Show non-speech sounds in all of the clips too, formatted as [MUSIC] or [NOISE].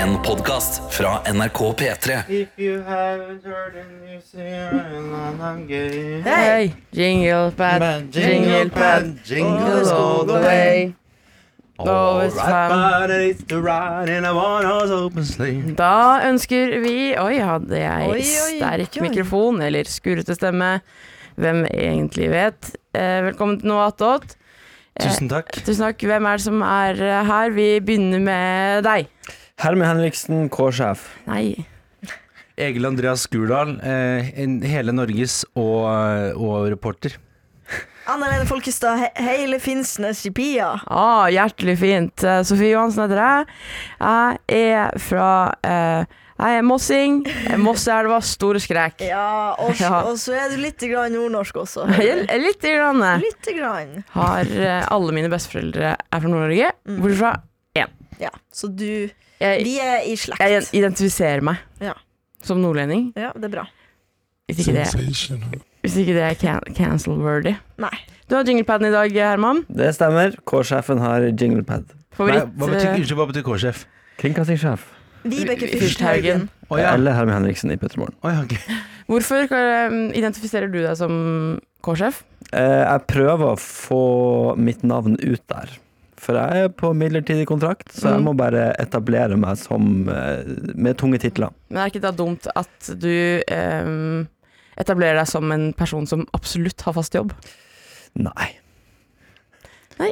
En podcast fra NRK P3 If you haven't heard it, you see and I'm gay. Hei! Jingle pad, Man, jingle pad, jingle all the way. Always fun. But it's the ride in a one-horse open sleigh. Da ønsker vi Oi, hadde jeg Oi, oi, sterk oi. mikrofon eller skurrete stemme? Hvem egentlig vet? Eh, velkommen til Noe attåt. Tusen takk. Tusen takk. Hvem er det som er eh, her? Vi begynner med deg. Hermed Henriksen, K-sjef. Nei. Egil Andreas Skurdal, eh, en- hele Norges og, eh, og reporter. Anna Lene Folkestad, he hele Finnsnes i Pia. Ah, hjertelig fint. Eh, Sofie Johansen heter jeg. Jeg er fra eh, Jeg er mossing. Eh, Mosseelva, Store Skrek. [LAUGHS] Ja, og, Ja. og så er du litt grann nordnorsk også. [LAUGHS] Litt grann. eh. Litt grann. har eh, alle mine besteforeldre er fra Nord-Norge, bortsett fra Ja, så du jeg, Vi er i jeg slekt. identifiserer meg Ja. som nordlending. Ja, det er bra. Hvis ikke det, hvis ikke det er can cancel-worthy. Nei. Du har jinglepaden i dag, Herman. Det stemmer. K-sjefen har jinglepad. Nei, Favoritt hva betyr, eh, unnskyld, hva betyr K-sjef? Kringkastingssjef. Vibeke Fyrsthaugen. Fyrsthaugen. Å ja. Eller Hermed Henriksen i P3 Morgen. Å ja, ok. Hvorfor eh, identifiserer du deg som K-sjef? Eh, jeg prøver å få mitt navn ut der. For jeg er på midlertidig kontrakt, så jeg Mm. må bare etablere meg som eh, med tunge titler. Men er ikke det da dumt at du eh, etablerer deg som en person som absolutt har fast jobb? Nei. Nei.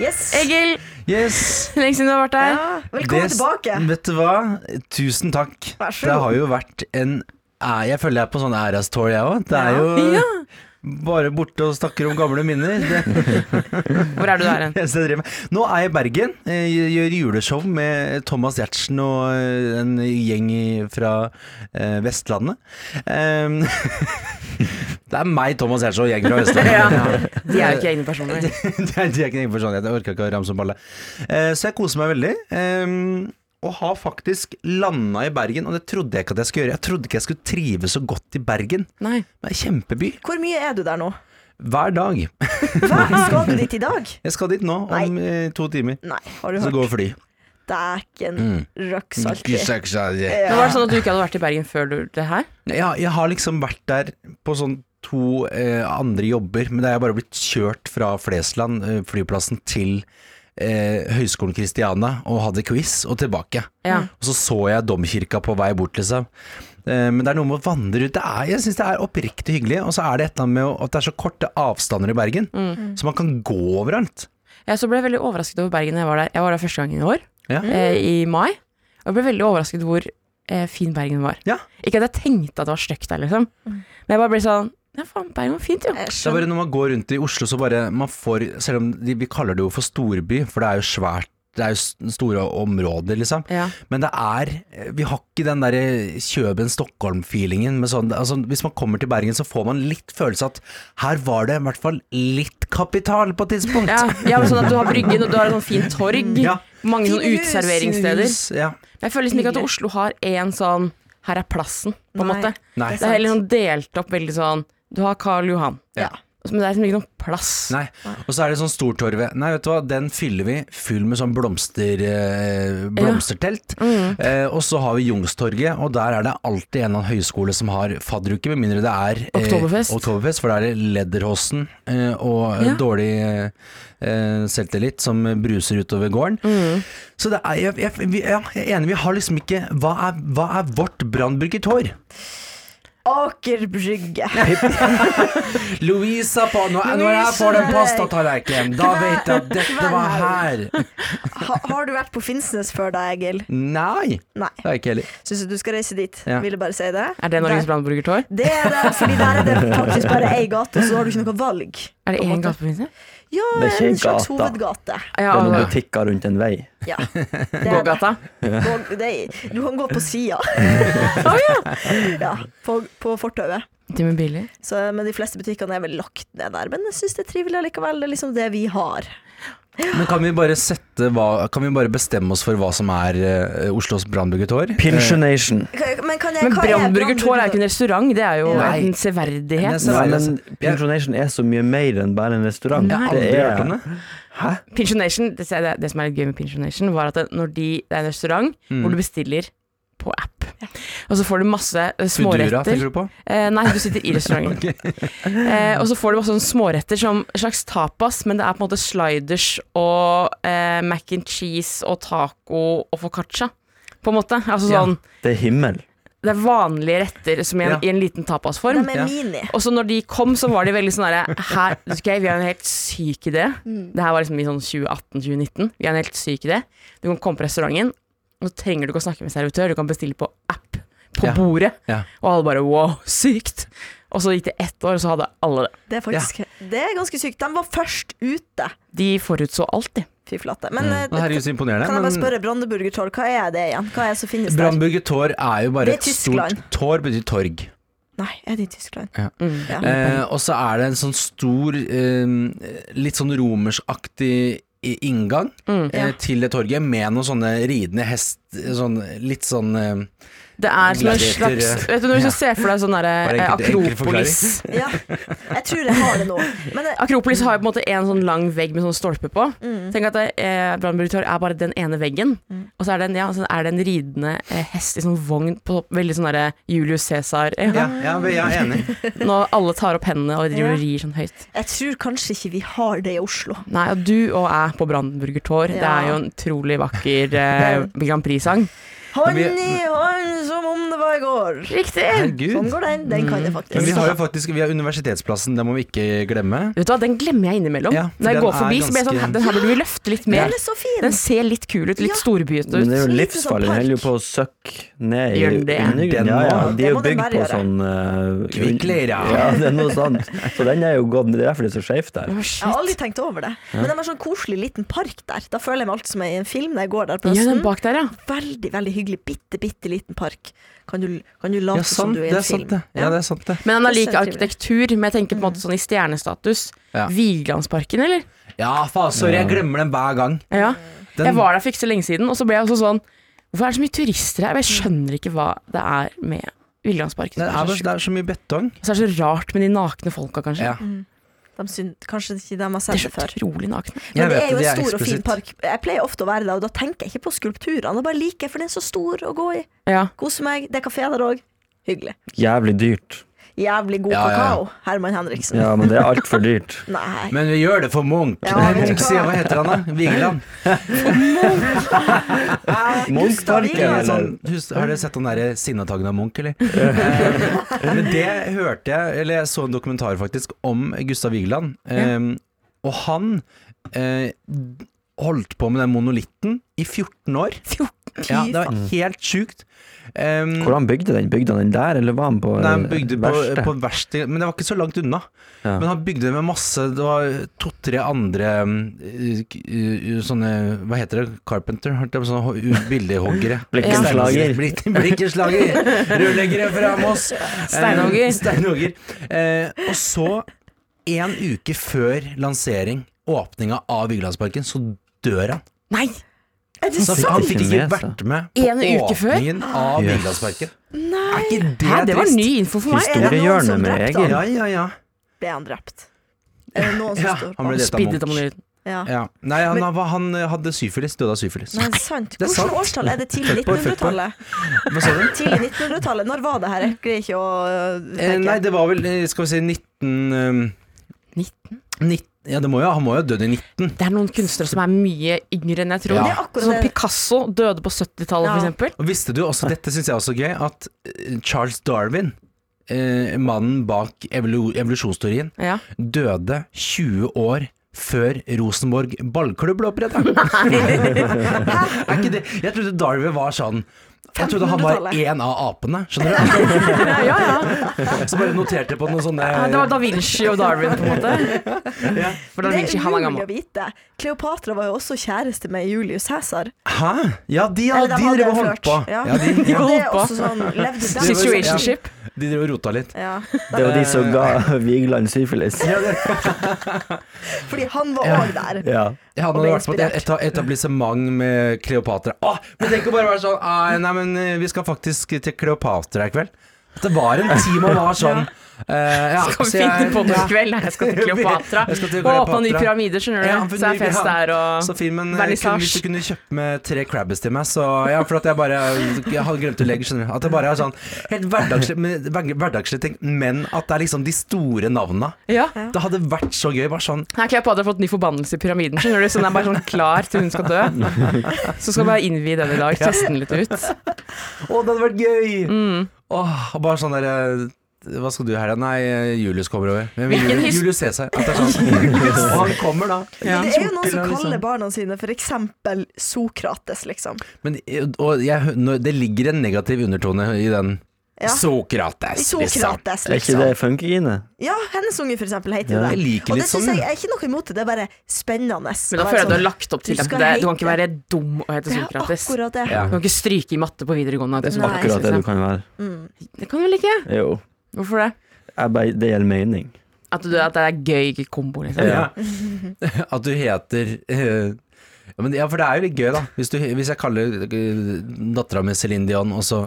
Yes. Egil, Yes! lenge siden du har vært her. Ja, velkommen Det s- tilbake. Vet du hva? Tusen takk. Vær så Det god. har jo vært en æ- Jeg føler jeg er på sånn ærestour, jeg òg. Det er jo Ja. bare borte og snakker om gamle minner. Det Hvor er du der hen? er det eneste jeg driver med. Nå er jeg i Bergen. eh, Gjør juleshow med Thomas Giertsen og eh, en gjeng i- fra eh, Vestlandet. Em, [LAUGHS] Det er meg, Thomas Giertsen og gjengen fra Vestlandet. [LAUGHS] [LAUGHS] De er jo ikke egne personer. det er, det er ikke en egen personlighet. Jeg orker ikke å ramse opp alle. Eh, så jeg koser meg veldig. eh, og har faktisk landa i Bergen, og det trodde jeg ikke at jeg skulle gjøre. Jeg trodde ikke jeg skulle trives så godt i Bergen. Nei. Det er en kjempeby. Hvor mye er du der nå? Hver dag. Hva? Skal du dit i dag? Jeg skal dit nå om eh, to timer. Nei, har du Så hørt? går fly. Dæken Mm. røkk Ikke salti. sagt, sa jeg. Men var Ja. det sånn at du ikke hadde vært i Bergen før du det her? Ja, jeg har liksom vært der på sånn to eh, andre jobber, men da er jeg bare blitt kjørt fra Flesland, eh, flyplassen, til eh, Høgskolen Kristiania og hadde quiz, og tilbake. Ja. Og så så jeg domkirka på vei bort, liksom. Eh, Men det er noe med å vandre ut. Det er, jeg syns det er oppriktig hyggelig. Og så er det et eller annet med å- at det er så korte avstander i Bergen, så man kan gå overalt. Jeg så ble jeg veldig overrasket over Bergen da jeg var der. Jeg var der første gangen i år, Ja. eh, i mai. Og jeg ble veldig overrasket hvor eh, fin Bergen var. Ja. Ikke at jeg tenkte at det var stygt der, liksom. Men jeg bare ble sånn Ja, faen, Bergen var fint, jo. Mm. Jeg Det er skjønner. bare når man går rundt i Oslo, så bare man får Selv om de, vi kaller det jo for storby, for det er jo svært, det er jo s- store områder, liksom. Ja. Men det er eh, Vi har ikke den derre Kjøben-Stockholm-feelingen med sånn altså, Hvis man kommer til Bergen, så får man litt følelse at her var det i hvert fall litt kapital på et tidspunkt. Ja, ja, men sånn at Du har Bryggen, og du har et sånn fint torg. Ja. Mange sånn Fine hus, uteserveringssteder. Hus, Ja. Men jeg føler liksom ikke at Oslo har én sånn Her er plassen, på en Nei. måte. Nei. Det er heller sånn delt opp veldig sånn Du har Karl Johan, Ja. men det er liksom ikke noen plass. Nei. Og så er det sånn Stortorvet. Nei, vet du hva, den fyller vi. Fyll med sånn blomster, eh, blomstertelt. Mm. Eh, og så har vi Jungstorget, og der er det alltid en eller annen høyskole som har fadderuke, med mindre det er eh, Oktoberfest. Oktoberfest. For da er det Lederhosen eh, og Ja. dårlig eh, eh, selvtillit som bruser utover gården. Mm. Så det er, jeg, jeg, vi, ja, jeg er enig, vi har liksom ikke Hva er, hva er vårt brannbygget hår? Aker Brygge. Louisa på Når, når jeg får den pastatallerkenen, da vet jeg at dette var her. Ha, har du vært på Finnsnes før da, Egil? Nei, Nei. det er jeg ikke heller. Syns du du skal reise dit? Ja. Ville bare si det. Er det Norges Der- Brannburgertår? Det er det, fordi der er det faktisk bare ei gate, så har du ikke noe valg. Er det På en én måte. gateforbindelse? Ja, Det er ikke en slags gata. hovedgate. Ja, Det er noen ja. butikker rundt en vei. Ja. Det er det. Gågata. Gå- det er, du kan gå [LAUGHS] på sida. ja, på, på fortauet. Timmy Billy. Så, men de fleste butikkene er vel lagt ned der. Men jeg syns det er trivelig likevel. Det er liksom det vi har. Men kan vi bare sette hva, Kan vi bare bestemme oss for hva som er eh, Oslos brannbuggetår? Pinsjonation. Kan- Men, kan jeg, Men hva er brannburgertår er jo ikke en restaurant, det er jo Nei. en Men severdighet. jeg- Nei, men Pinsjonation er så mye mer enn bare en restaurant. Jeg har aldri hørt om det. Hæ? Pensionation, det, det, det som er litt gøy med Pensionation, var at det, når de, det er en restaurant Mm. hvor du bestiller på app, og så får du masse eh, Foodora, småretter tenker du på? eh, Nei, du sitter i restauranten. [LAUGHS] eh, og så får du masse sånne småretter som en slags tapas, men det er på en måte sliders og eh, mac and cheese og taco og foccaccia, på en måte. Altså Ja. sånn Det er himmel. Det er vanlige retter som i en, Ja. i en liten De tapasform. er Ja. mini. Og så når de kom, så var de veldig sånn derre Her, ok, vi har en helt syk idé. Det her var liksom i sånn 2018-2019. Vi har en helt syk idé. Du kan komme på restauranten, og så trenger du ikke å snakke med servitør. Du kan bestille på app på Ja. bordet. Ja. Og alle bare wow, sykt. Og så gikk det ett år, og så hadde alle det. Det er faktisk Det er ganske sykt. De var først ute. De forutså alt, de. Fy flate. Men eh, Det her er jo så imponerende. kan jeg bare spørre men- Brandeburgertår, hva er det igjen? Hva er det som finnes der? Brannbuggetår er jo bare Det er et stort Tyskland. Tår betyr torg. Nei, er det i Tyskland? Ja. Mm. Ja. Eh, og så er det en sånn stor, eh, litt sånn romersaktig i- inngang eh, Mm. Ja. til det torget, med noen sånne ridende hest sånn, Litt sånn eh, Det er som en Gladiator, slags eh, Vet du når du ja. ser for deg sånn Bare derre eh, enkel- enkel Akropolis. ja. Jeg tror jeg har det nå. Men eh, det, Akropolis har jo på en måte en sånn lang vegg med sånn stolpe på. mm. Tenk at eh, Brannburgtorg er bare den ene veggen, Mm. og så er det en, ja, så er det en ridende eh, hest i sånn vogn på topp, veldig sånn derre Julius Cæsar. [LAUGHS] Ja. Ja, ja jeg er enig. Når alle tar opp hendene og driver og Ja. rir sånn høyt. jeg tror kanskje ikke vi har det i Oslo. Nei, og du og jeg på Brannburgertår, det Ja. er jo en utrolig [LAUGHS] vakker eh, Grand Prix-sang. Hånd vi- i hånd som om det var i går. Riktig! Sånn Herregud. går den. Den kan jeg Mm. Men vi faktisk. har jo faktisk vi har Universitetsplassen, det må vi ikke glemme. Vet du hva, den glemmer jeg innimellom. Ja, for Når jeg den går forbi, er så blir jeg sånn ganske- "Hæ, Den her burde vi løfte litt Den mer. er så fin. Den ser litt kul ut, litt Ja. storbyete Men det er ut. jo Litt livsfarlig. som Den holder jo park. på å søkke ned i Gjør den det? undergrunnen. Den Ja, ja. må- De det må er jo den bygd bare på gjøre. sånn eh, Kvikler, ja. Ja, det er noe sånt. Så den er jo gått Det er derfor det er så skeivt der. Å, Jeg har shit. aldri tenkt over det. Men de har sånn koselig liten park der. Da føler jeg meg alltid som jeg er i en film når jeg går der på Ja, den høsten. bak der, ja. Veldig, veldig hyggelig. Bitte, bitte liten park. Kan du, kan du late Ja, sant, som du er det i er en film? sant, det. Ja, det er Mm. sant, det. Men han har Det ser lik trivelig. arkitektur, men jeg tenker på en måte sånn i stjernestatus. Ja. Vigelandsparken, eller? Ja, faen, sorry, jeg glemmer den hver gang. Ja. Den- Jeg var der for ikke så lenge siden, og så ble jeg også sånn Hvorfor er det så mye turister her? Jeg skjønner ikke hva det er med Vigelandsparken. Det er, som bare- er så altså, det sjukt. er så mye betong. Mm. Og så er det så rart med de nakne folka, kanskje. Ja. De syn, kanskje ikke de har De sett er det så før. utrolig nakne. Jeg Men det vet er jo en det, det er stor og fin eksplisitt. park. Jeg pleier ofte å være der, og da tenker jeg ikke på skulpturene. Jeg bare liker, for den er så stor å gå i. Ja. Kose meg. Det er kafé der òg. Hyggelig. Jævlig dyrt. Jævlig god Ja, ja, ja. kakao, Herman Henriksen. Ja, men det er [LAUGHS] altfor dyrt. Nei. [LAUGHS] Men vi gjør det for Munch. Ja, Nei, vet du [LAUGHS] Munch hva? sier hva heter han, da? Vigeland. Munchparken, Ja, eller? sånn, hus- har dere sett den der eh, sinnataggen av Munch, [LAUGHS] eller? Eh, Men det hørte jeg, eller jeg så en dokumentar faktisk, om Gustav Vigeland. Eh, Og han eh, holdt på med den monolitten i 14 år. Ja, det var helt sjukt. Um, Hvor han bygde den? Bygde han den der, eller var han på Nei, han bygde på, verste? på verksted, men det var ikke så langt unna. Ja. Men han bygde det med masse Det var to-tre andre eh, k- eh, sånne Hva heter det? Carpenter? holdt jeg på å si, Sånne ho- bildehoggere. Blikkenslager. Stein- blikk- Blikkenslager. Rørleggere fra Moss. Eh, Steinhogger. Steinhogger. Eh, og så, en uke før lansering, åpninga av Vigelandsparken, så dør han. Nei! Er det Så sant? han fikk ikke Kineser. vært med En på uke før? åpningen av Yes. Vigelandsparken. Er ikke det, Hæ, det var trist? ny info for meg. Er det noen Historiehjørnet som med drepte Egil. han? Ja, ja, ja. Ble han drept? Er det noen som Ja, står han på? ble det. Spiddet av monolitten. Ja. Ja. Nei, han, var- han eh, hadde syfilis, døde av syfilis. Nei, sant. Det er Hvilket sant. årstall er det? Tidlig Fuck boy, fuck boy. 1900-tallet? Hva sa du? Tidlig 1900-tallet? Når var det her? Jeg greier ikke å øh, Eh, tenke. Nei, det var vel, eh, skal vi si, 19... ehm, 19? 19 ja, det må jo, han må jo ha dødd i 19. Det er noen kunstnere som er mye yngre enn jeg tror. Ja. Det er akkurat Sånn det. Picasso døde på 70-tallet, Ja. for eksempel. Og visste du også, dette syns jeg også er gøy, at eh, Charles Darwin, eh, mannen bak evolu evolusjonsteorien, Ja. døde 20 år før Rosenborg ballklubb ble [LAUGHS] oppretta. [LAUGHS] Er ikke det Jeg trodde Darwin var sånn Jeg trodde han var 1500-tallet. én av apene, skjønner [LAUGHS] du? Ja, ja, ja. Så bare noterte jeg på noen sånne Ja, Det var Da Vinci og Darwin, på en [LAUGHS] måte. For Da Det Vinci, er han var umulig gammel. å vite. Kleopatra var jo også kjæreste med Julius Cæsar. Hæ? Ja, de, ja, Eller de hadde drev og en flørt. holdt på. [LAUGHS] Ja. Ja, de, Og det holdt er på. også sånn levde der. Situationship. Situationship. De drev og rota litt. Eh, Ja. Det var de som ga [LAUGHS] Vigeland syfilis. Fordi han var òg der. Ja. Og Ja, han hadde ble vært på et eta- etablissement med Kleopatra. Åh, men tenk å bare være sånn ah, Nei, men eh, vi skal faktisk til Kleopatra i kveld. At det var en tid man var sånn eh, ja, Skal vi så jeg- finne på noe [LAUGHS] ja. i kveld? Nei, jeg skal til Kleopatra. Jeg skal til Og åpne nye Kleopatra. pyramider, skjønner du. Ja, for så er ny- fest ja. der og Så fin, men eh, Vernissasje. kunne, hvis du kunne kjøpt med tre crabbes til meg, så Ja, for at jeg bare Jeg hadde glemt å legge, skjønner du. At det bare er sånn helt hverdagslig- men- hver- hverdagslige ting, men at det er liksom de store navna. Ja. Det hadde vært så gøy, bare sånn Her har Kleopatra fått ny forbannelse i pyramiden, skjønner du. Så den er bare sånn klar til hun skal dø. Så skal vi bare innvie den i dag, teste den litt ut. Å, det hadde vært gøy! Åh, og bare sånn derre hva skal du i helga? Nei, eh, Julius kommer over. Hvem [LAUGHS] vil Hvilken Julius, his- Julius Cæsar. At det er sånn. Og han kommer, da. Ja. Men det er jo noen Sortilla, som liksom. kaller barna sine for eksempel Sokrates, liksom. Men eh, og jeg, nå- det ligger en negativ undertone i den. Ja. Sokrates, liksom. Sokrates, Er ikke liksom. det funkygine? Ja, hennes unge for eksempel heter jo Ja. det. Jeg liker Og litt det synes sånn. jeg, jeg er ikke noe imot det, det er bare spennende. Men da føler jeg at du har lagt opp til Du at skal det, sånn- du kan hate. ikke være dum og hete det er Sokrates. Du akkurat det. Ja. kan ikke stryke i matte på videregående. og hete Nei, Akkurat det du Sokrates, kan være. Mm. liksom. Det kan du vel ikke? Jo. Hvorfor det? Jeg bare, det gjelder mening. At, du, at det er gøy kombo, liksom. [LAUGHS] Ja. At du heter eh, ja, men, ja, for det er jo litt gøy, da. Hvis, du, hvis jeg kaller uh, dattera mi Céline Dion, og så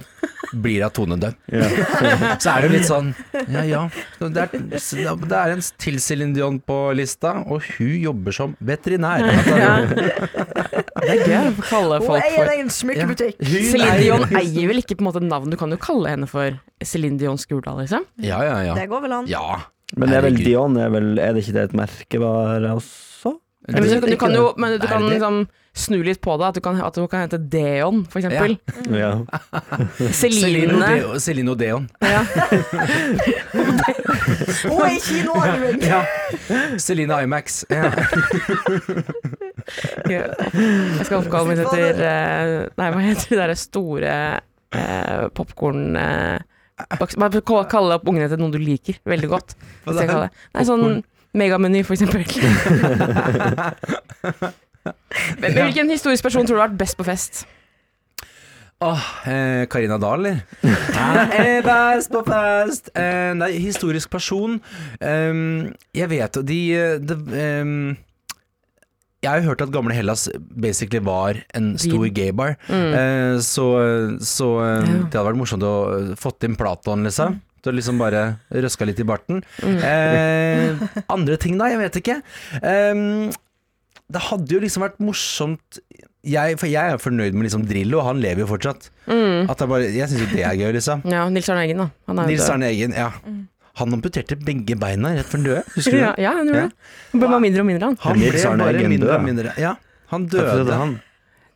blir hun Tone Døm, Ja. [LAUGHS] så er det jo litt sånn Ja ja. Det er, det er en til Céline Dion på lista, og hun jobber som veterinær. Altså, Det er gøy å kalle Hun folk eier en for egen smykkebutikk. Hun Celine er- Dion eier vel ikke på en måte navn, du kan jo kalle henne for Celine Dion Skurdal, liksom. Ja ja ja. Det går vel an. ja. Men det er vel Herregud. Dion er, vel, er det ikke det et merkevare også? Men, du, kan, du kan jo men du Er kan det? liksom snu litt på det, at du kan, at du kan hete Deon, for eksempel. Mm. Ja. [LAUGHS] Celine Celine. Odeo- Celine Odeon. Ja. Hun er i kinoarmen! Ja. Celine Imax. Ja. Jeg skal oppkalle meg etter eh, Nei, hva heter de der store uh, popkorn... eh, baks- Bare kall- kalle opp ungene til noen du liker veldig [LAUGHS] godt. Hva hvis jeg da? kaller det. Nei, sånn megameny, for [LAUGHS] eksempel. Men, men hvilken historisk person tror du har vært best på fest? Åh, eh, Karina Dahl, eller? Hæ? Eh, Best på fest! Eh, nei, historisk person Ehm, Jeg vet jo, de, eh, det, ehm, Jeg har jo hørt at gamle Hellas basically var en stor gaybar. Eh, så så eh, Mm. Ja. det hadde vært morsomt å eh, fått inn Platon, liksom. Du liksom bare røska litt i barten. Mm. Eh, andre ting, da? Jeg vet ikke. Ehm, det hadde jo liksom vært morsomt jeg, For jeg er fornøyd med liksom Drillo, han lever jo fortsatt. Mm. At jeg bare, jeg syns jo det er gøy, liksom. Ja, Nils Arne Eggen, da. Han er jo Nils død. Arne Eggen, ja. Han amputerte begge beina rett før han døde, husker du Ja, det? [LAUGHS] ja, han gjorde Ja. det. Han ble bare mindre og mindre, han. Han Nils ble Arne bare Eggen mindre død? og mindre. Ja, han Hvorfor er døde. det han?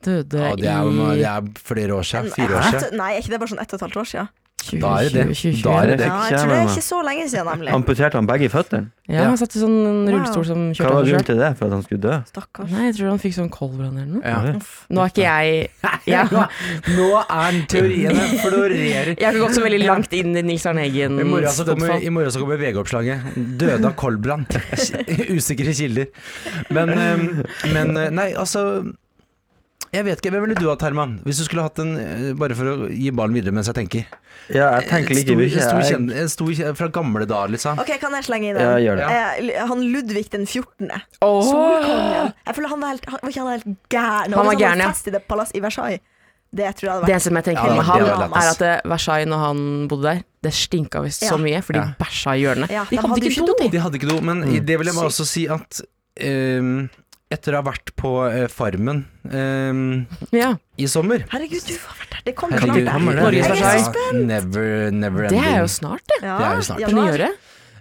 Døde Ja, det er, det i er flere år siden. Nei, Fire år siden. Nei, er ikke det bare sånn ett og et halvt år siden? Da er det det. 2020. Da er det det. Ja, jeg tror det er ikke så lenge siden, nemlig. Amputerte han begge føttene? Ja, han satt i sånn rullestol som Hva kjørte var han grunnen sjøl. til det? For at han skulle dø? Stakkars. Nei, jeg tror han fikk sånn koldbrann eller noe. Ja. Nå er ikke jeg [LAUGHS] Jeg, Nå, nå er teoriene florerer. jeg har ikke gått så veldig langt inn i Nils Arne Eggen. I morgen så kommer, fotfall. i morgen så kommer VG-oppslaget. 'Døde av koldbrann'. [LAUGHS] Usikre kilder. Men, eh, men eh, Nei, altså Jeg vet ikke. Hvem ville du hatt, Herman? Hvis du skulle hatt en eh, Bare for å gi ballen videre mens jeg tenker. Ja, jeg tenker like stor, mye. stor Jeg- kjend- en stor kjend- Fra gamle dager, liksom. Ok, kan jeg slenge inn Ja, en? gjør det. Eh, han Ludvig den 14. Åh! Solkongen. Jeg føler han var helt, han, var ikke han helt gæren. Han var gæren, ja. ja. Fest i det palasset i Versailles. Det tror jeg hadde Det vært. som jeg tenker Ja, med det han, var lett, er ass. at eh, Versailles, når han bodde der, det stinka visst så Ja. mye, for de Ja. bæsja i hjørnet. Ja, de de hadde hadde jo ikke do, ikke do. de. De hadde ikke noe, men i Mm. det vil jeg bare også si at ehm, etter å ha vært på eh, Farmen ehm, Ja. i sommer Herregud, du har vært der. Det kommer Herregud, snart. han var der. der. Norges Ja, Versailles. Never, never Det er jo ending. snart, det. Ja, Det er jo snart. På januar. nyåret.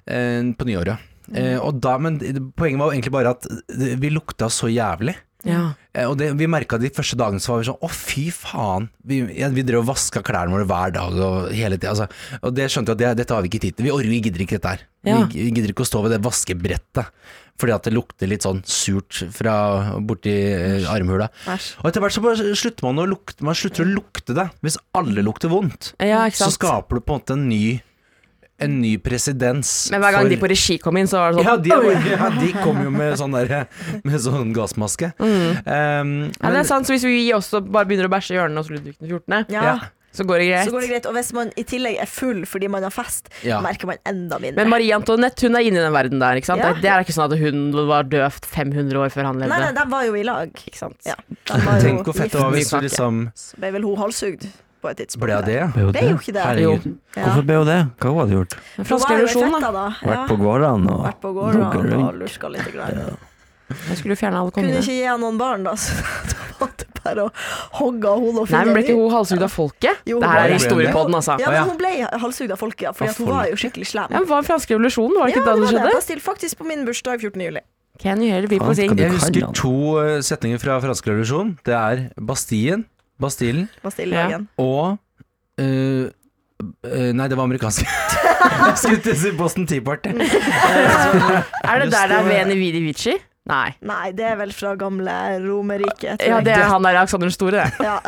Eh, på nyåret. Mm. Eh, og da, men poenget var jo egentlig bare at eh, vi lukta så jævlig. Ja. Eh, Og det, vi merka de første dagene så var vi sånn Å, fy faen. Vi, ja, vi drev og vaska klærne våre hver dag og hele tida. Altså. Og det skjønte jeg at det, dette har vi ikke tid til. Vi orker vi gidder ikke dette her. Ja. Vi, vi gidder ikke å stå ved det vaskebrettet. Fordi at det lukter litt sånn surt fra borti eh, armhula. Æsj. Og etter hvert så bare slutter man å lukte Man slutter å lukte det. Hvis alle lukter vondt, ja, ikke så sant. skaper du på en måte en ny En ny presedens. Men hver gang for- de på regi kom inn, så var det sånn ja de, ja, de kom jo med sånn, der, med sånn gassmaske. Um, mm. Ja, det men- er sant, så hvis vi også bare begynner å bæsje i hjørnet hos Ludvig den 14., Ja. Ja. Så går det Så går det greit. greit. Og hvis man i tillegg er full fordi man har fest, Ja. merker man enda mindre. Men Marie Antoinette hun er inne i den verden der. ikke sant? Ja. Det, det er ikke sånn at hun var døvt 500 år før han nei, nei, levde. de var jo i lag. Ikke sant? Ja, [LAUGHS] de var Tenk hvor fett det var gift. hvis du Mye kake. liksom Så ble vel hun halshugd på et tidspunkt. ble av det. ja. Ble hun Ble jo ikke det. Herregud. Jo. Ja. Hvorfor ble hun det? Hva hun hadde gjort? Den Hun franske var jo i revolusjonen, da. fetta da. Vært på gårdene og Vært på gården Dunket og, rundt. og lurka litt. Grann. Jeg skulle jo fjerne alle Kunne kongene. ikke gi henne noen barn, da, [LAUGHS] så da var det bare å hogge av hodet og Nei, finne men Ble ikke en ny. hun halshugd av folket? Jo, det her er ble hun det? historiepodden, altså. Ja, Å, ja. men hun ble halshugd av folket, ja, fordi Av at hun var folket? jo skikkelig Ja, slem. men Var den franske revolusjonen, var det ikke da det skjedde? Bastille, faktisk på min bursdag 14. juli. Can you hear the people Faen, sing? skal du- Jeg kan husker han. to eh, setninger fra fransk revolusjon. Det er Bastien, Bastillen Bastilledagen. og eh, eh, Nei, det var [LAUGHS] amerikansk. jeg skulle til å si Boston Tea Party. Er det der det er Veni Vidi Vici? Nei. Nei, det er vel fra gamle Romerriket. tror Ja, jeg. det er han der Alexander den store, det. Ja. [LAUGHS]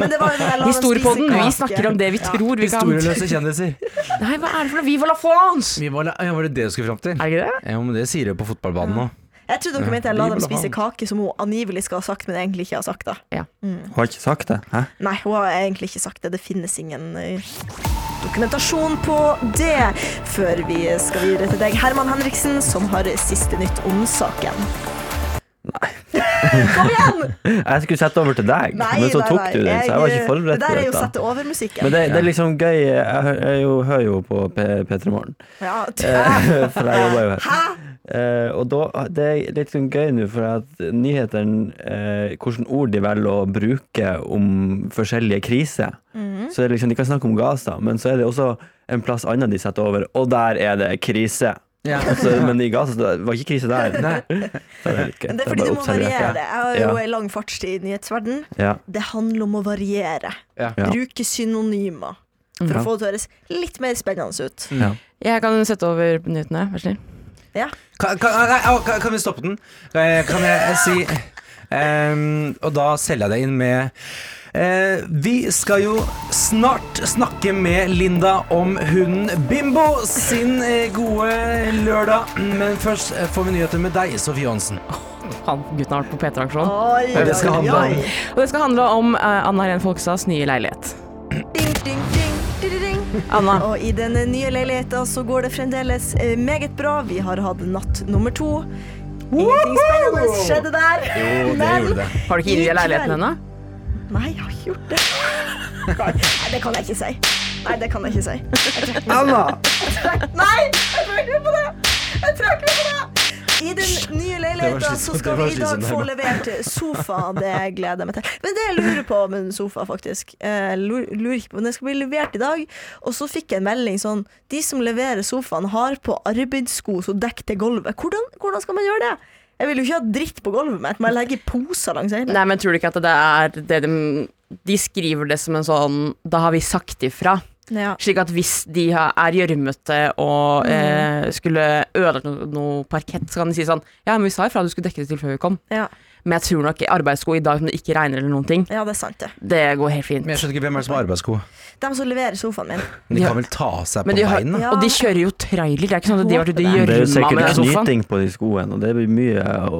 Men det var jo den der la dem Historiepodden, spise vi kake. snakker om det vi Ja. tror vi kan. Historieløse kjendiser. Nei, hva er det for noe? Viva la France! Vi var, ja, var det det du skulle fram til? Er det ikke det? Ja, men det sier jeg på fotballbanen nå. Jeg trodde dere mente jeg la Liv dem eller spise faen. kake som hun angivelig skal ha sagt, men egentlig ikke har sagt det. Hun har ikke sagt det? Hæ? Nei, hun har egentlig ikke sagt det. Det finnes ingen eh, dokumentasjon på det. Før vi skal videre til deg, Herman Henriksen, som har siste nytt om saken. Nei. Kom [LAUGHS] igjen! Jeg skulle sette over til deg, Nei, men så nei, tok nei. du den, så jeg var ikke Det forberedt der er jo på sette over-musikken. Men det, det er liksom gøy Jeg, hø- jeg jo, hører jo på P- P3 Morgen, Ja, Eh, [LAUGHS] [LAUGHS] for jeg jobber jo her. Hæ? Eh, og da, det er litt sånn gøy nå, for at nyhetene eh, Hvilke ord de velger å bruke om forskjellige kriser. Mhm. Så det er liksom, De kan snakke om Gaza, men så er det også en plass annet de setter over, og der er det krise. Ja. Mm. Så, men i Gaza så det var ikke krise der. [LAUGHS] Så det er litt gøy. Det er bare fordi du må observert. variere. Jeg har jo Ja. ei lang fartstid i nyhetsverden. Ja. Det handler om å variere. Ja. Ja. Bruke synonymer. For å få det til å høres litt mer spennende ut. Ja. Jeg kan sette over minuttene, vær så snill. Ja. Kan, kan, nei, au, kan, kan vi stoppe den? Eh, Kan jeg, eh, si ehm, Og da selger jeg deg inn med eh, Vi skal jo snart snakke med Linda om hunden Bimbo sin eh, gode lørdag. Men først eh, får vi nyheter med deg, Sofie Johansen. Han gutten har vært på P3-aksjonen. Oi, det skal handle om. Og det skal handle om eh, Anna Helen Folkstads nye leilighet. Ding, ding, ding, ding, ding. Anna, Og i den nye leiligheten så går det fremdeles eh, meget bra. Vi har hatt natt nummer to. Ingenting spennende skjedde der. men- har det. du ikke innviet leiligheten ennå? Nei, jeg har ikke gjort det. Nei, det kan jeg ikke si. Nei, det kan jeg ikke si. Anna! Nei, jeg trakk meg på det! Jeg trakk meg på det! I den nye Det var leiligheten slitsomt, så det skal var vi i dag slitsomt, få Herman. levert sofa. Det gleder jeg meg til. Men det jeg lurer på med en sofa, faktisk eh, lur- lurer ikke på, men Den skal bli levert i dag, og så fikk jeg en melding sånn De som leverer sofaen, har på arbeidssko som dekker til gulvet. Hvordan, hvordan skal man gjøre det? Jeg vil jo ikke ha dritt på gulvet mitt. Må jeg legge poser langs hele? Nei, men tror du ikke at det er det de De skriver det som en sånn Da har vi sagt ifra. Ja. Slik at hvis de har- er gjørmete og eh, skulle ødelagt noe, noe parkett, så kan de si sånn Ja, men vi sa ifra du skulle dekke det til før vi kom. Ja. Men jeg tror nok arbeidssko i dag som det ikke regner eller noen ting, ja, det er sant, det. det går helt fint. Men jeg skjønner ikke hvem er det som har arbeidssko. De som leverer sofaen min. De Ja. kan vel ta av seg Men på de har, beina? Ja. Og de kjører jo trailer. Det er ikke sånn at de har vært ute i Det er jo gjørma med sikkert den sofaen. knyting på de skoene, og det blir mye å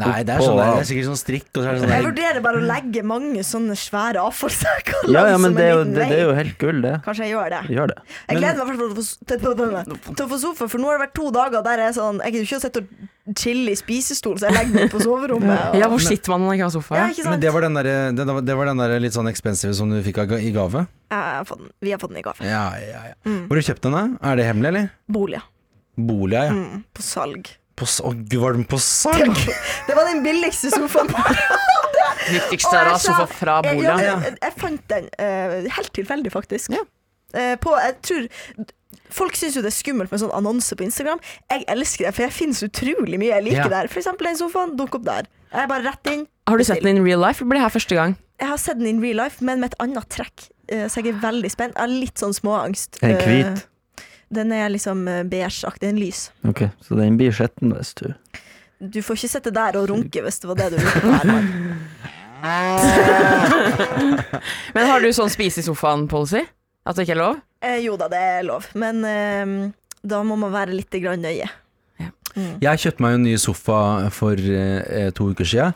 Nei, det er, sånn, der- det er sikkert sånn strikk. Og så er det sånn Jeg der, vurderer bare å legge mange sånne svære avfallssekker Ja, ja, langs som men en det er, jo, liten det, det vei. er jo helt gull, det. Kanskje jeg gjør det. Gjør det. Jeg gleder meg i hvert fall til å få- til å- til å få sofa, for nå har det vært to dager der jeg er sånn Jeg gidder ikke å sitte og chille i spisestol, så jeg legger meg på soverommet. Og, Ja, hvor sitter man når man ikke har sofa? ja, Ja? ikke men sant? det var, den der, det, det var den der litt sånn expensive som du fikk av ga- i gave? Jeg har fått den. Vi har fått den i Mm. gave. Ja, ja, ja. Hvor har du kjøpt den? da? Er det hemmelig, eller? Boliger. Bolig, ja. Mm, på salg. På, s- å, gud, var den på salg? Det var den billigste sofaen. Viktigste er å ha sofa fra Jeg, ja, bordet. men jeg, jeg fant den eh, helt tilfeldig, faktisk. Ja. Eh, på, jeg tror Folk syns jo det er skummelt med sånn annonse på Instagram. Jeg elsker det, for jeg finnes utrolig mye jeg liker Ja. der. For eksempel den sofaen. Dukk opp der. Jeg er bare rett inn. Har du sett den in real life? Det blir her første gang. Jeg har sett den in real life, men med et annet trekk. Eh, Så jeg er veldig spent. Jeg har litt sånn småangst. Er den Eh, hvit? Den er liksom eh, beigeaktig. Den er lys. Ok, Så den blir skitten hvis du Du får ikke sitte der og runke hvis det var det du ville. [LAUGHS] være. Men har du sånn spise i sofaen-policy? At det ikke er lov? Eh, Jo da, det er lov, men eh, da må man være litt grann nøye. Mm. Jeg kjøpte meg en ny sofa for eh, to uker siden.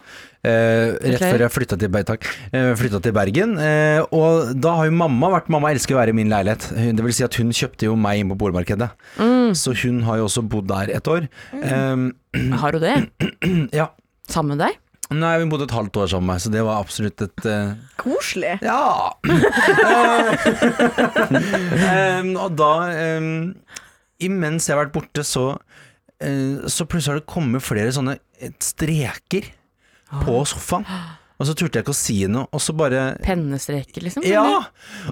eh, rett Beklager. før jeg flytta til, Ber- takk, eh, flyttet til Bergen. eh, og da har jo mamma vært Mamma elsker å være i min leilighet. Hun- Det vil si at hun kjøpte jo meg inn på boligmarkedet. Mm. Så hun har jo også bodd der et år. Har hun det? Eh, [CLEARS THROAT] ja. Sammen med deg? Nei, hun bodde et halvt år sammen med meg, så det var absolutt et eh, Koselig. Ja! [LAUGHS] Eh, em, og da em, Imens jeg har vært borte, så eh, Så plutselig har det kommet flere sånne eh, streker på Ah. sofaen. Og så turte jeg ikke å si noe, og så bare Pennestreker, liksom? Ja!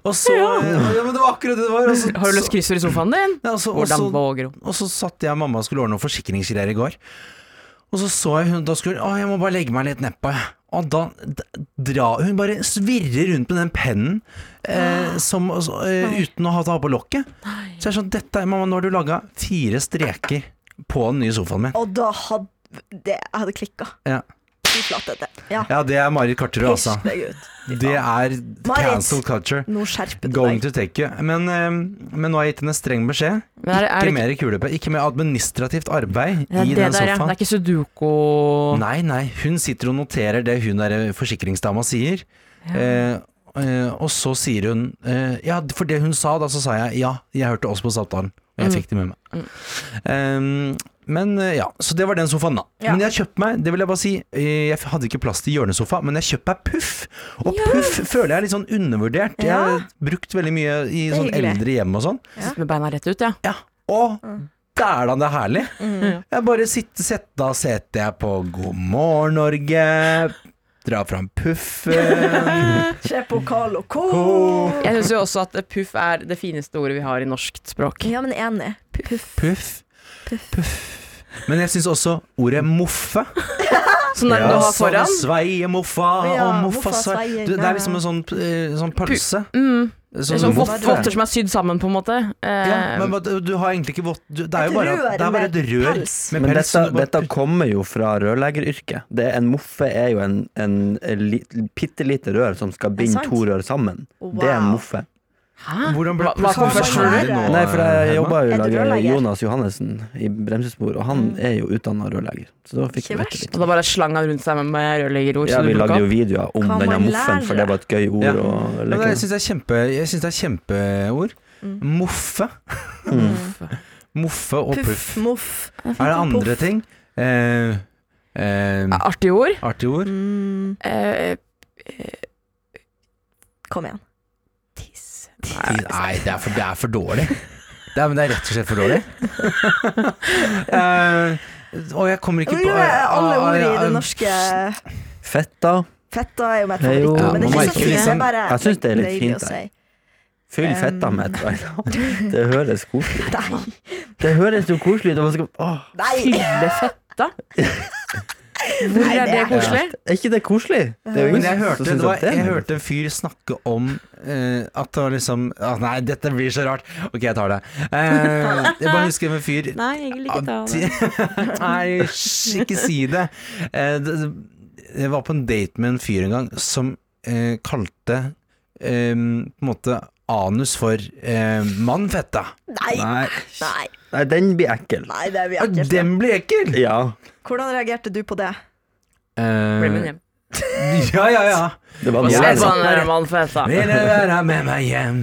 Og så Ja, men det var akkurat det det var. Og så, Har du løst kryssord i sofaen din? Ja, og så- og Hvordan så- våger hun? og så satt jeg og mamma og skulle ordne noen forsikringsgreier i går. Og så så jeg hun da skulle Å, jeg må bare legge meg litt nedpå, jeg. Og da d- dra Hun bare svirrer rundt med den pennen Ah. eh, som, og så, eh, uten å ha ta på lokket. Så jeg er sånn Dette, mamma, nå har du laga fire streker på den nye sofaen min. Og da hadde det, Jeg hadde klikka. Ja, Fy flate. det. Ja. ja det er Marit Karterud, altså. Piss deg ut. Det er Marit. cancel culture. Nå skjerper du Going deg. to take you. Men, eh, men nå har jeg gitt henne streng beskjed. Men er, det- er Ikke det mer kulepe. Ikke mer administrativt arbeid Ja, i det den der, ja. Det sofaen. er ikke sudoku Nei, nei, hun sitter og noterer det hun der eh, forsikringsdama sier. Eh, eh, og så sier hun eh, Ja, for det hun sa, da så sa jeg ja, jeg hørte oss på Saltdalen. Og jeg Mm. fikk det med meg. Eh, men eh, ja, så det var den sofaen, da. Ja. Men jeg kjøpte meg, det vil jeg bare si, eh, jeg hadde ikke plass til hjørnesofa, men jeg kjøpte meg Puff. Og Puff føler jeg er litt sånn undervurdert. Jeg Ja. har brukt veldig mye i Det er sånn hyggelig. Mm. eldre hjem og sånn. med beina rett ut, ja. Ja, og dælan, det er herlig. Jeg bare sitter, sett, da setter jeg på God morgen, Norge. Drar fram puffen. Se på Carl og Co. Jeg syns jo også at puff er det fineste ordet vi har i norsk språk. Ja, men enig. Puff. [LAUGHS] Puff. Puff. Men jeg syns også ordet moffe. Som den du har sånn foran. Sveie moffa Ja, og moffa moffa svei. sveier. Du, Det Ja, er liksom en sånn, eh, sånn pølse. Mm. Det Sånn er sånn moffe. vott- votter som er sydd sammen, på en måte. Eh, Ja, men du- du har egentlig ikke vått du- Det er Et jo bare, rør det er bare et med rør pels. med Men pels. dette, som du bare dette kommer jo fra rørleggeryrket. Det er- En moffe er jo en, en li, bitte lite rør som skal Er det binde sant? to rør sammen. Wow. Det er en moffe. Hæ? Hvordan ble Hva- hva kom plutselig først, så røret? skjønner du nå, Nei, for Herman? jeg jobba jo i Er du lag med rørlegger? Mm. Jonas Johannessen i Bremsespor, og han er jo utdanna rørlegger. Så da fikk Ikke vi vite verst. litt. Og da bare slang han rundt seg med, med rørleggerord. Ja, så vi du lagde plukket jo opp. videoer om Kan denne man moffen, for lære? det var et gøy ord. Ja. Og, Ja, men leke jeg syns det er kjempe Jeg synes det er kjempeord. Mm. Moffe. Mm. Moffe og puff. Puff, moff. Er det andre ting? Eh, eh, Artige ord. artige ord? Mm, Eh, kom igjen. tiss. Nei, det er for, det er for dårlig. Det er, men det er rett og slett for dårlig. [LAUGHS] eh, og jeg kommer ikke Men nå på er alle ah, ah, ord i ja, det norske ting. Fetta. Fetta er jo mitt Det er jo- favoritt, men det er Ja, ikke så fint. Det er man merker liksom- bare Jeg synes det er litt deilig fint, å jeg. si. Fyll Um. fetta med et eller Det høres koselig ut. Nei. Det høres jo koselig ut. og man skal- Åh, [LAUGHS] [LAUGHS] Nei. Fylle fetta. Hvor Nei, er det det er- koselig? Er ikke det koselig? Det er jo Men ingen jeg som hørte, synes det var, at det er jeg noe. hørte en fyr snakke om eh, at det var liksom ah, Nei, dette blir så rart. Ok, jeg tar det. Eh, jeg bare husker en fyr Nei, jeg vil ikke ta Ja, det. ti- [LAUGHS] Nei, hysj, ikke si det. Eh, det- det- Jeg var på en date med en fyr en gang som eh, kalte eh, på en måte anus for eh, mannfetta. Nei. Nei. Nei. Nei, den blir ekkel. Nei, det blir Ja, ekkelt. den blir ekkel! Ja. Hvordan reagerte du på det? Bli Eh, med hjem. [LAUGHS] ja, ja, ja. Det Og var noe se jeg på sa. den der mannfetta. Vil du være med meg hjem?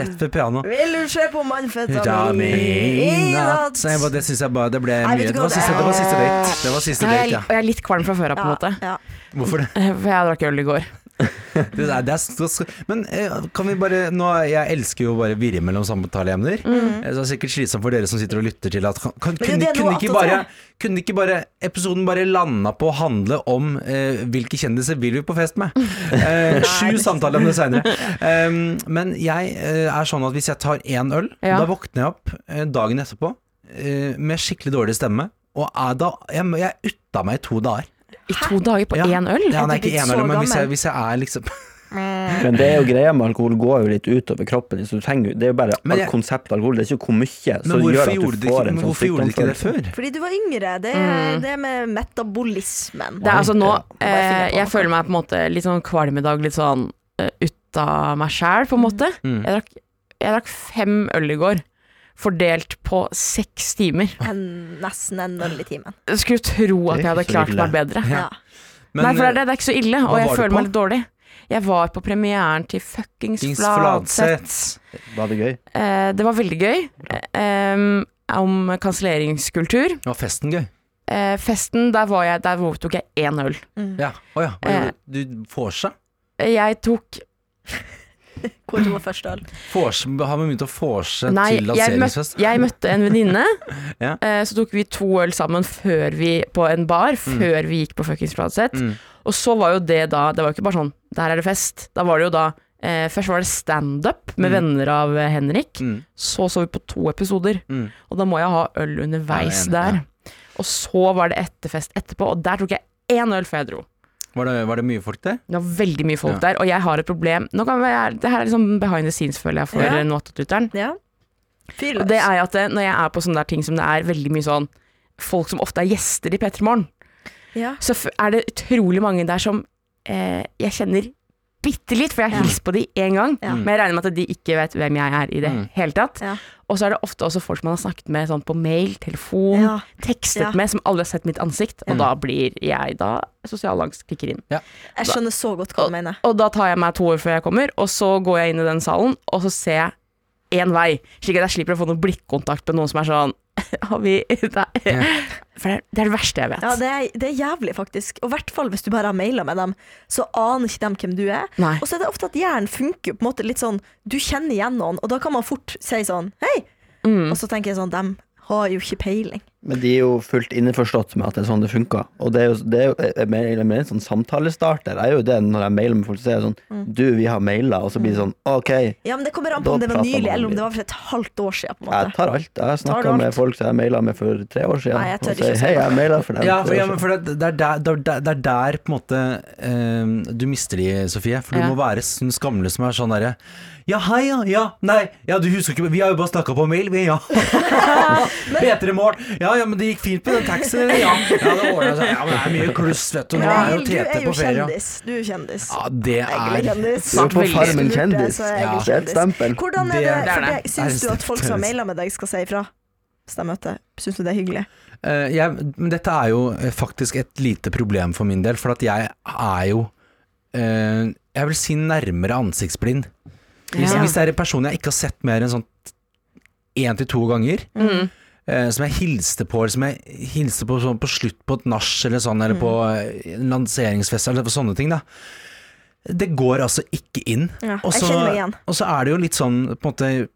Rett ved pianoet. Vil du se på Ta Mannfetamin meg i natt Nei, bare- Det syns jeg bare Det ble Nei, mye. vet du Det var hva, siste, det var siste date. Det var siste Ja, date, jeg, ja. og jeg er litt kvalm fra før av, på en måte. Ja, Hvorfor det? Eh, For jeg drakk øl i går. Det er, det er, så- så- men eh, kan vi bare nå, Jeg elsker jo bare å virre mellom samtaleemner. Eh, Så det er sikkert slitsomt for dere som sitter og lytter til at kan, kan, Mm. det er kunne, det altså- kunne, noe ikke attåt bare, her. kunne ikke bare episoden bare landa på å handle om eh, hvilke kjendiser vil vi på fest [LAUGHS] med? Eh, sju samtaleemner seinere. Um, men jeg eh, er sånn at hvis jeg tar én øl, Ja. da våkner jeg opp eh, dagen etterpå eh, med skikkelig dårlig stemme. Og er da, jeg, jeg er utta meg i to dager. I to dager på Ja. én øl? Ja, nei, du ikke blitt én så øl, men hvis jeg, gammel? hvis jeg er liksom Men det er jo greia med alkohol går jo litt utover kroppen din, så du trenger jo Det er jo bare Men jeg- alt konsept alkohol, det er ikke hvor mye Men som hvorfor, gjør at gjorde du dere ikke, får en men sånn hvorfor gjorde dere ikke det sykdomsfølelse. før? Fordi du var yngre. Det, Mm. det med metabolismen. Det er altså nå Bare finne eh, på Jeg noe. føler meg på en måte litt sånn kvalm i dag, litt sånn eh, ut av meg sjæl, på en måte. Mm. Jeg, drakk, jeg drakk fem øl i går, fordelt på seks timer. En, nesten en øl i timen. Jeg skulle tro at jeg Det er hadde ikke så klart ille. meg bedre. Ja. Men, eh, Nei, for det er, det, det er ikke så ille, og Hva jeg var du føler på? meg litt dårlig. Jeg var på premieren til fuckings Fuckings Fladseth. Fladseth. Var det gøy? Eh, det var veldig gøy. Eh, em, om kanselleringskultur. Var festen gøy? Eh, festen, der, var jeg, der tok jeg én øl. Ja. Å ja. Hva Eh, gjorde du? Du vorsa? Jeg tok Hvor var første øl? Vorse- Har vi begynt å vorse Nei, til jeg, møtte, lanseringsfest? jeg møtte en venninne. [LAUGHS] Ja. eh, så tok vi to øl sammen før vi på en bar, før vi gikk på fuckings Fladseth. Mm. Og så var jo det da Det var jo ikke bare sånn Der er det fest. Da var det jo da eh, Først var det standup med venner av eh, Henrik. Mm. Så så vi på to episoder. Mm. Og da må jeg ha øl underveis Ja, jeg er der. enig, Og så var det etterfest etterpå, og der tok jeg én øl før jeg dro. Var, det, var det mye folk der? Det var veldig mye folk Ja. der, og jeg har et problem Nå kan jeg, Det her er liksom behind the scenes, føler jeg, for eh, Ja. ja. Noatot-lytteren. Ja. Fyr løs. Og det er jo at eh, når jeg er på sånne der ting som det er veldig mye sånn Folk som ofte er gjester i P3 Morgen, Ja. så f- er det utrolig mange der som eh, jeg kjenner bitte litt, for jeg har hilst på de én gang. Ja. Men jeg regner med at de ikke vet hvem jeg er i det Mm. hele tatt. Ja. Og så er det ofte også folk man har snakket med sånn på mail, telefon, Ja. tekstet Ja. med, som aldri har sett mitt ansikt. Og Mm. da blir jeg da Sosial angst kicker inn. Jeg skjønner så godt hva du mener. Og da tar jeg meg to år før jeg kommer, og så går jeg inn i den salen, og så ser jeg én vei. Slik at jeg slipper å få noen blikkontakt med noen som er sånn [LAUGHS] Har vi Nei. [LAUGHS] For det er det er det verste jeg vet. Ja, det er, det er jævlig, faktisk. Og i hvert fall hvis du bare har maila med dem, så aner ikke dem hvem du er. Nei. Og så er det ofte at hjernen funker på en måte litt sånn Du kjenner igjen noen, og da kan man fort si sånn Hei! Og så tenker jeg sånn Dem har jo ikke peiling. Men de er jo fullt innforstått med at det er sånn det funker. Og det er jo, det er jo jeg mener- jeg mener en sånn samtalestarter. Jeg er jo det når jeg mailer med folk, så er det sånn Du, vi har maila, og så blir det sånn OK. Ja, men det kommer an Da på om det var prater man nylig, eller om litt. det var for et halvt år siden, på en Jeg måte. tar alt. Jeg Tar du snakka med alt? folk som jeg maila med for tre år siden. Nei, jeg tør og ikke å sier si hei, det. jeg maila for dem. Ja, for, for tre ja, år men siden». for det, det, er der, det, er der, det er der på en måte eh, du mister de, Sofie. For du Ja. må være sånn skamløs som er sånn derre Ja, hei, ja, ja, nei, ja, du husker ikke Vi har jo bare snakka på [LAUGHS] mail, vi, ja. [LAUGHS] Bedre mål. Ja, ja, men det gikk fint på den taxien, ja. ja. Det ordnet seg. Ja, men det er mye kluss, vet du. Nå er jo du Tete er jo på ferie. kjendis. Du er kjendis. Ja, det Egentlig er kjendis. Du er jo på Veldig Farmen kjendis. Så er jeg Ja. kjendis. Det er et stempel. Hvordan er Det det, er for det. deg? Syns Det er du at folk som har maila med deg, skal si ifra? Stemmøte. Syns du det er hyggelig? Eh, jeg, men dette er jo eh, faktisk et lite problem for min del, for at jeg er jo eh, Jeg vil si nærmere ansiktsblind. Hvis, Ja. hvis det er en person jeg ikke har sett mer enn sånn én til to ganger, Mm. eh, som jeg hilste på, eller som jeg hilste på sånn på slutt på et nach eller sånn, eller på Mm. eh, en lanseringsfest eller på sånne ting, da. Det går altså ikke inn. Ja, Og jeg så- kjenner meg igjen. Og så er det jo litt sånn, på en måte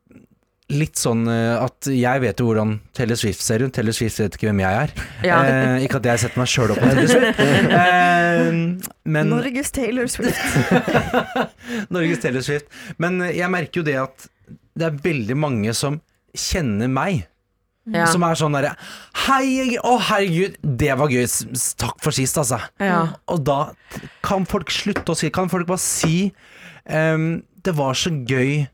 Litt sånn eh, at jeg vet jo hvordan Taylor Swift ser ut. Taylor Swift vet ikke hvem jeg er. Ja. Eh, ikke at jeg setter meg sjøl opp på Taylor [LAUGHS] Swift. Eh, men Norges Taylor Swift. Norges Taylor Swift. Men jeg merker jo det at det er veldig mange som kjenner meg. Ja. Som er sånn derre Hei, jeg- å herregud, det var gøy. S- s- Takk for sist, altså. Ja. Og da t- kan folk slutte å si Kan folk bare si ehm, Det var så gøy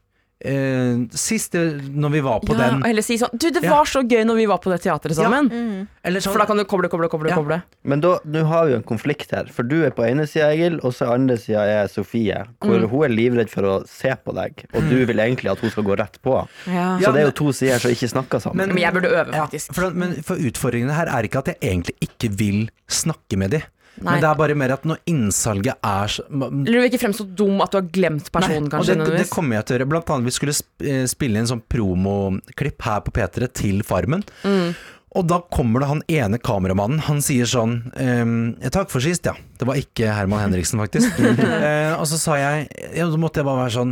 eh, sist, det- når vi var på ja, den. og heller si sånn Du, det Ja. var så gøy når vi var på det teateret Ja. sammen. Eller sånn For da kan du koble, koble, koble. Ja. koble. Men da, nå har vi jo en konflikt her, for du er på ene sida, Egil, og så andre sida er Sofie. Hvor Mm. hun er livredd for å se på deg, og du vil egentlig at hun skal gå rett på. Ja. Så Ja, det er men- jo to sider som ikke snakker sammen. Men jeg burde øve, Ja, faktisk. for, men for utfordringene her er ikke at jeg egentlig ikke vil snakke med de. Nei. Men det er bare mer at når innsalget er så Nei, Eller du vil ikke fremstå dum at du har glemt personen, og kanskje. det, det nødvendigvis. kommer jeg til å gjøre. Blant annet vi skulle sp- eh, spille inn sånn promoklipp her på P3 til Farmen. Mm. Og da kommer det han ene kameramannen. Han sier sånn ehm, Takk for sist, ja. Det var ikke Herman Henriksen, faktisk. [LAUGHS] Eh, og så sa jeg ja, Da måtte jeg bare være sånn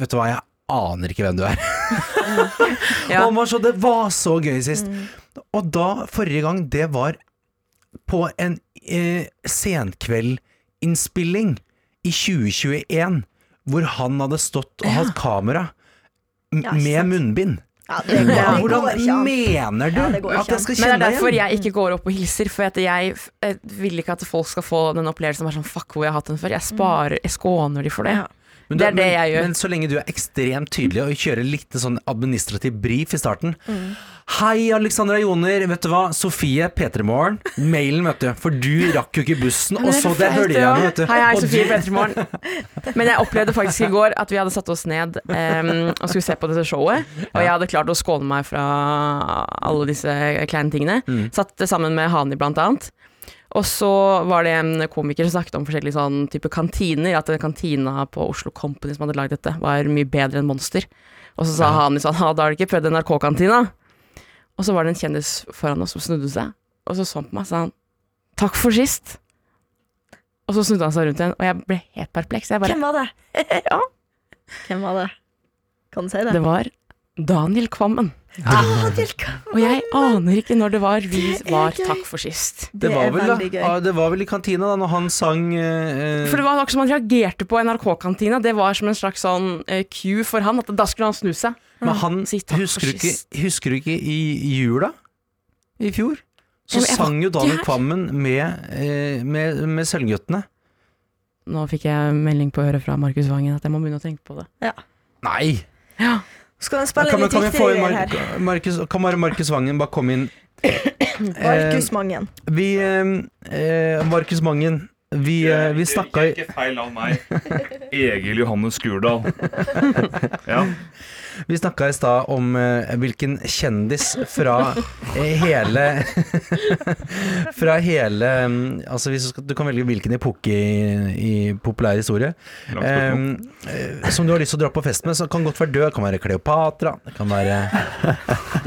Vet du hva, jeg aner ikke hvem du er. Ja. Og han var så, det var så gøy sist. Mm. Og da, forrige gang, det var på en eh, senkveldinnspilling i 2021, hvor han hadde stått og hatt kamera m- Ja, ikke med sant. munnbind. Ja, det, det Hvordan går ikke an. mener du Ja, det går ikke at jeg Men skal det er kjenne deg derfor igjen? Mm. jeg ikke går opp og hilser, for at jeg f- eh, vil ikke at folk skal få den opplevelsen som er sånn fuck hvor jeg har hatt den før. Jeg sparer, jeg skåner de for det. Ja. Men det er du- det jeg gjør. Men så lenge du er ekstremt tydelig og kjører litt sånn administrativ brif i starten. Mm. Hei, Alexandra Joner. Vet du hva? Sofie P3morgen. Mailen, vet du. For du rakk jo ikke bussen. Og så det høljejernet, vet du. Hei, hei, Og Sofie du- Petermorgen. Men jeg opplevde faktisk i går at vi hadde satt oss ned em, og skulle se på dette showet, og jeg hadde klart å skåne Mm. meg fra alle disse kleine tingene. Satt sammen med Hani, blant annet. Og så var det en komiker som snakket om forskjellige sånn type kantiner, at den kantina på Oslo Company som hadde lagd dette, var mye bedre enn Monster. Og så sa han liksom, ha, da har du ikke prøvd NRK-kantina. Og så var det en kjendis foran oss som snudde seg, og så så han på meg og sa han, takk for sist. Og så snudde han seg rundt igjen, og jeg ble helt perpleks. Jeg bare, Hvem var [LAUGHS] det? ja, Hvem var det? Kan du si det? det var Daniel Kvammen. Ah, Daniel Kvammen! Og jeg aner ikke når det var vi Det er var gøy. takk for sist. Det, var er vel, da, veldig gøy. ja, det var vel i kantina da når han sang eh, eh, For det var akkurat som han reagerte på NRK-kantina. Det var som en slags sånn eh, cue for han, at da skulle han snu seg. Men han Si takk for husker du, ikke, sist. husker du ikke i jula i fjor? Så Ja, men jeg var sang jo ikke Daniel her. Kvammen med, eh, med, med Sølvguttene. Nå fikk jeg melding på øret fra Markus Vangen at jeg må begynne å tenke på det. Nei! Ja. Skal den Kan, spille litt kan, vi få viktigere inn greier Mar her? Markus, kan bare Markus Vangen bare komme inn? Markus Mangen. Vi eh, eh, Markus Mangen, vi, eh, vi snakka i Ikke feil av meg. Egil Johannes [LAUGHS] Gurdal. Ja. Vi snakka i stad om eh, hvilken kjendis fra eh, hele [LAUGHS] Fra hele mm, Altså hvis du, skal, du kan velge hvilken epoke i, i populær historie. Langt spørsmål. eh, eh, som du har lyst til å dra på fest med, så kan godt være død. Det kan være Kleopatra. Det kan være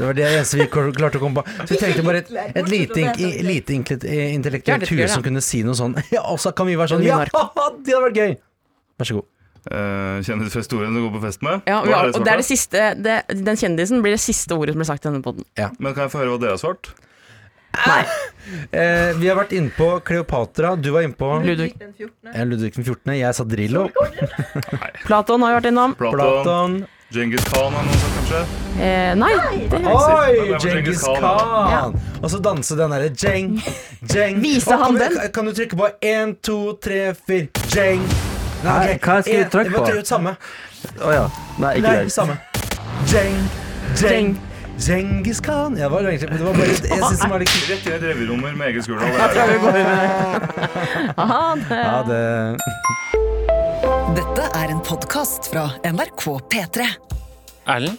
Det var det eneste vi kl- klarte å komme på. Så vi trengte bare et, et lite, ink- i- lite inklet- eh, Ja, det intellektuelt tror jeg, ja. hue som kunne si noe sånn. [LAUGHS] Ja, og så kan vi være sånn Eller Ja, Minarco. [LAUGHS] det hadde vært gøy! Vær så god. Eh, Kjendis fra historien som går på fest med? Ja, Hva vi har, dere og det er det svart, siste, det, den kjendisen blir det siste ordet som blir sagt i denne podden. da? Men kan jeg få høre hva dere har svart? Eh, vi har vært inne på Kleopatra. Du var inne på Ludvig. Eh, Ludvig den 14. Jeg sa Drillo. Platon har jo vært innom. Platon? Platon. Genghis Khan har noen sagt, kanskje? Eh, nei, det Oi, Genghis Genghis Khan, Khan! Og så danse den derre jeng, jeng. Vise Å, han kan du- den? Kan du trykke på én, to, tre, fire, jeng? Nei, hva skal vi En- trykke vi må på? ut Samme. Å ja. Nei, ikke Nei, det. samme. Jeng, jeng. Genghis Khan. Ja, det var egentlig Det var bare Jeg synes det var litt kult. Rett inn i et revirommer med [LAUGHS] Egil Skurdal. Det er det. Aha, det. Ja, det Dette er en podkast fra NRK P3. Erlend,